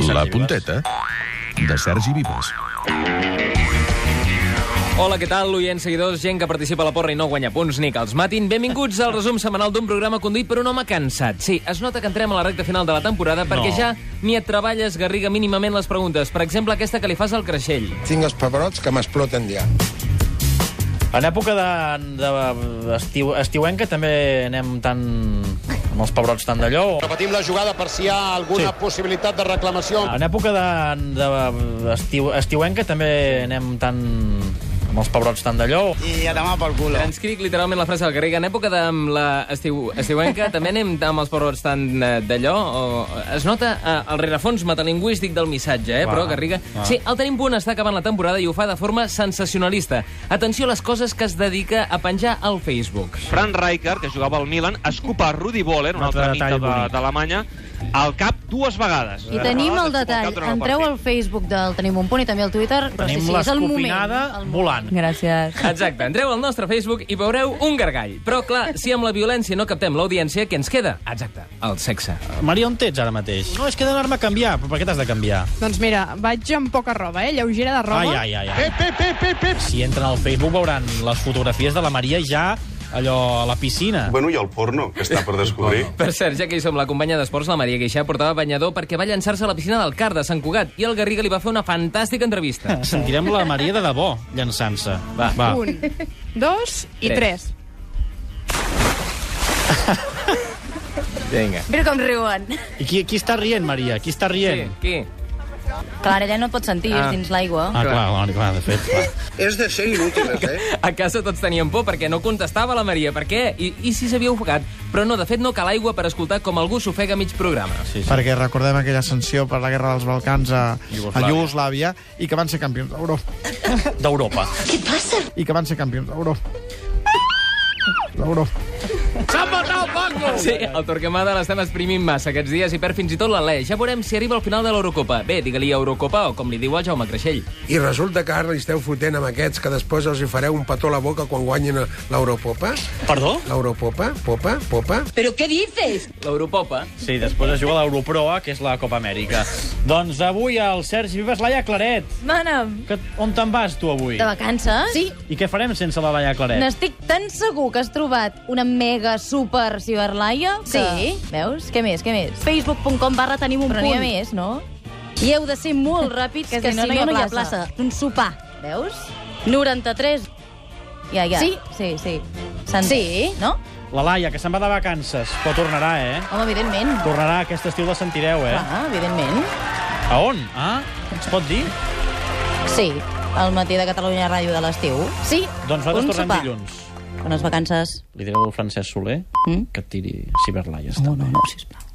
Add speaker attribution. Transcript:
Speaker 1: Sergi
Speaker 2: La
Speaker 1: Vives.
Speaker 2: punteta de Sergi Vives.
Speaker 1: Hola, què tal, oients, seguidors, gent que participa a la porra i no guanya punts ni que els matin. Benvinguts al resum setmanal d'un programa conduït per un home cansat. Sí, es nota que entrem a la recta final de la temporada perquè ja ni et treballes, Garriga, mínimament les preguntes. Per exemple, aquesta que li fas al creixell.
Speaker 3: Tinc els pebrots que m'exploten ja.
Speaker 4: En època de, de estiu, estiuenca també anem tan... amb els pebrots tan d'allò. o-
Speaker 5: Repetim la jugada per si hi ha alguna
Speaker 4: Sí. Ah,
Speaker 5: possibilitat de reclamació.
Speaker 4: En època de, de estiu, estiuenca també anem tan... amb els pebrots tan d'allò.
Speaker 1: Transcric literalment la frase del Garriga. En època de la estiu, estiuenca també anem amb els porrots tan eh, d'allò. O... Es nota eh, el rerefons metalingüístic del missatge, eh, però, Garriga... Sí, el tenim punt està acabant la temporada i ho fa de forma sensacionalista. Atenció a les coses que es dedica a penjar al Facebook.
Speaker 6: Fran Rijkaard, que jugava al Milan, escupa a Rudi Voller, un
Speaker 4: Un altre
Speaker 6: altre amic
Speaker 4: detall
Speaker 6: de-
Speaker 4: bonic.
Speaker 6: d'Alemanya, al cap dues vegades.
Speaker 7: I tenim el
Speaker 6: Dues
Speaker 7: detall.
Speaker 6: vegades escupa cap durant el
Speaker 7: Entreu
Speaker 6: partit.
Speaker 7: al Facebook del Tenim un punt i també al Twitter. Però
Speaker 4: Tenim
Speaker 7: sí, sí, és el moment.
Speaker 4: l'escopinada
Speaker 7: el moment.
Speaker 4: volant.
Speaker 8: Gràcies.
Speaker 1: Exacte, entreu al nostre Facebook i veureu un gargall. Però, clar, si amb la violència no captem l'audiència, què ens queda? Exacte, el sexe.
Speaker 4: Maria, on ets ara mateix? No, és que he d'anar-me a canviar. Però per què t'has de canviar?
Speaker 9: Doncs mira, vaig amb poca roba, eh? Lleugera de roba.
Speaker 4: Ai, ai, ai, ai. Pep, pep, pep, pep. Si entren al Facebook veuran les fotografies de la Maria ja allò a la piscina.
Speaker 10: Bueno, i el porno, que està per descobrir.
Speaker 1: Per cert, ja que hi som, la companya d'esports, la Maria Guixà, portava banyador perquè va llançar-se a la piscina del Car de Sant Cugat i el Garriga li va fer una fantàstica entrevista.
Speaker 4: Sentirem la Maria de debò llançant-se.
Speaker 1: Va.
Speaker 9: Un, dos i
Speaker 1: Tres.
Speaker 9: tres.
Speaker 1: Vinga.
Speaker 8: Mira com riuen.
Speaker 4: I qui, qui està rient, Maria? Qui està
Speaker 1: Qui?
Speaker 4: rient?
Speaker 1: Qui?
Speaker 8: Clar, ella no pot sentir,
Speaker 1: Ah.
Speaker 8: és dins l'aigua.
Speaker 4: Ah, clar, clar, clar, de fet, clar.
Speaker 3: És de ser inútiles, eh?
Speaker 1: A casa tots tenien por perquè no contestava la Maria. Per què? I, i si s'havia ofegat? Però no, de fet no cal aigua per escoltar com algú s'ofega a mig programa.
Speaker 4: Sí, sí.
Speaker 11: perquè recordem aquella ascensió per la Guerra dels Balcans a, a Iugoslàvia i que van ser campions d'Europa.
Speaker 4: D'Europa.
Speaker 11: I que van ser campions d'Europa. D'Europa.
Speaker 1: Sí, el Torquemada l'estan exprimint massa aquests dies i perd fins i tot l'Alè. Ja veurem si arriba al final de l'Eurocopa. Bé, digue-li Eurocopa o com li diu el Jaume Creixell.
Speaker 3: I resulta que ara li esteu fotent amb aquests que després els hi fareu un petó a la boca quan guanyin l'Europopa?
Speaker 4: Perdó?
Speaker 3: L'Europopa? Popa? Popa?
Speaker 1: L'Europopa.
Speaker 4: Sí, després es juga a l'Europroa, que és la Copa Amèrica. doncs avui el Sergi Vives, Laia Claret.
Speaker 8: Mana'm.
Speaker 4: Que, on te'n vas, tu, avui?
Speaker 8: De vacances? Sí.
Speaker 4: I què farem sense la Laia Claret?
Speaker 8: N'estic tan segur que has trobat una mega super ciberlaia que...
Speaker 7: Sí.
Speaker 8: Veus? Què més, què més?
Speaker 7: Facebook.com barra tenim un
Speaker 8: Però n'hi
Speaker 7: punt.
Speaker 8: ha més, no? I heu de ser molt ràpids, que,
Speaker 7: Que si no, no hi ha plaça.
Speaker 8: Un sopar, veus? 93. Ja, ja.
Speaker 7: Sí.
Speaker 8: Sí, sí. S'entén,
Speaker 7: Sí.
Speaker 8: No?
Speaker 4: La Laia, que se'n va de vacances, però tornarà, eh?
Speaker 8: Home, evidentment.
Speaker 4: Tornarà aquest estiu, la sentireu, eh?
Speaker 8: Ah, evidentment.
Speaker 4: A on? Ah? Es pot dir?
Speaker 8: Sí. El matí de Catalunya Ràdio de l'estiu.
Speaker 7: Sí,
Speaker 4: Doncs nosaltres
Speaker 8: Un
Speaker 4: tornem
Speaker 8: sopar.
Speaker 4: dilluns.
Speaker 8: Bones vacances.
Speaker 4: Li direu al Francesc Soler
Speaker 8: Mm?
Speaker 4: que et tiri ciberlaies.
Speaker 8: No, no, no, sisplau.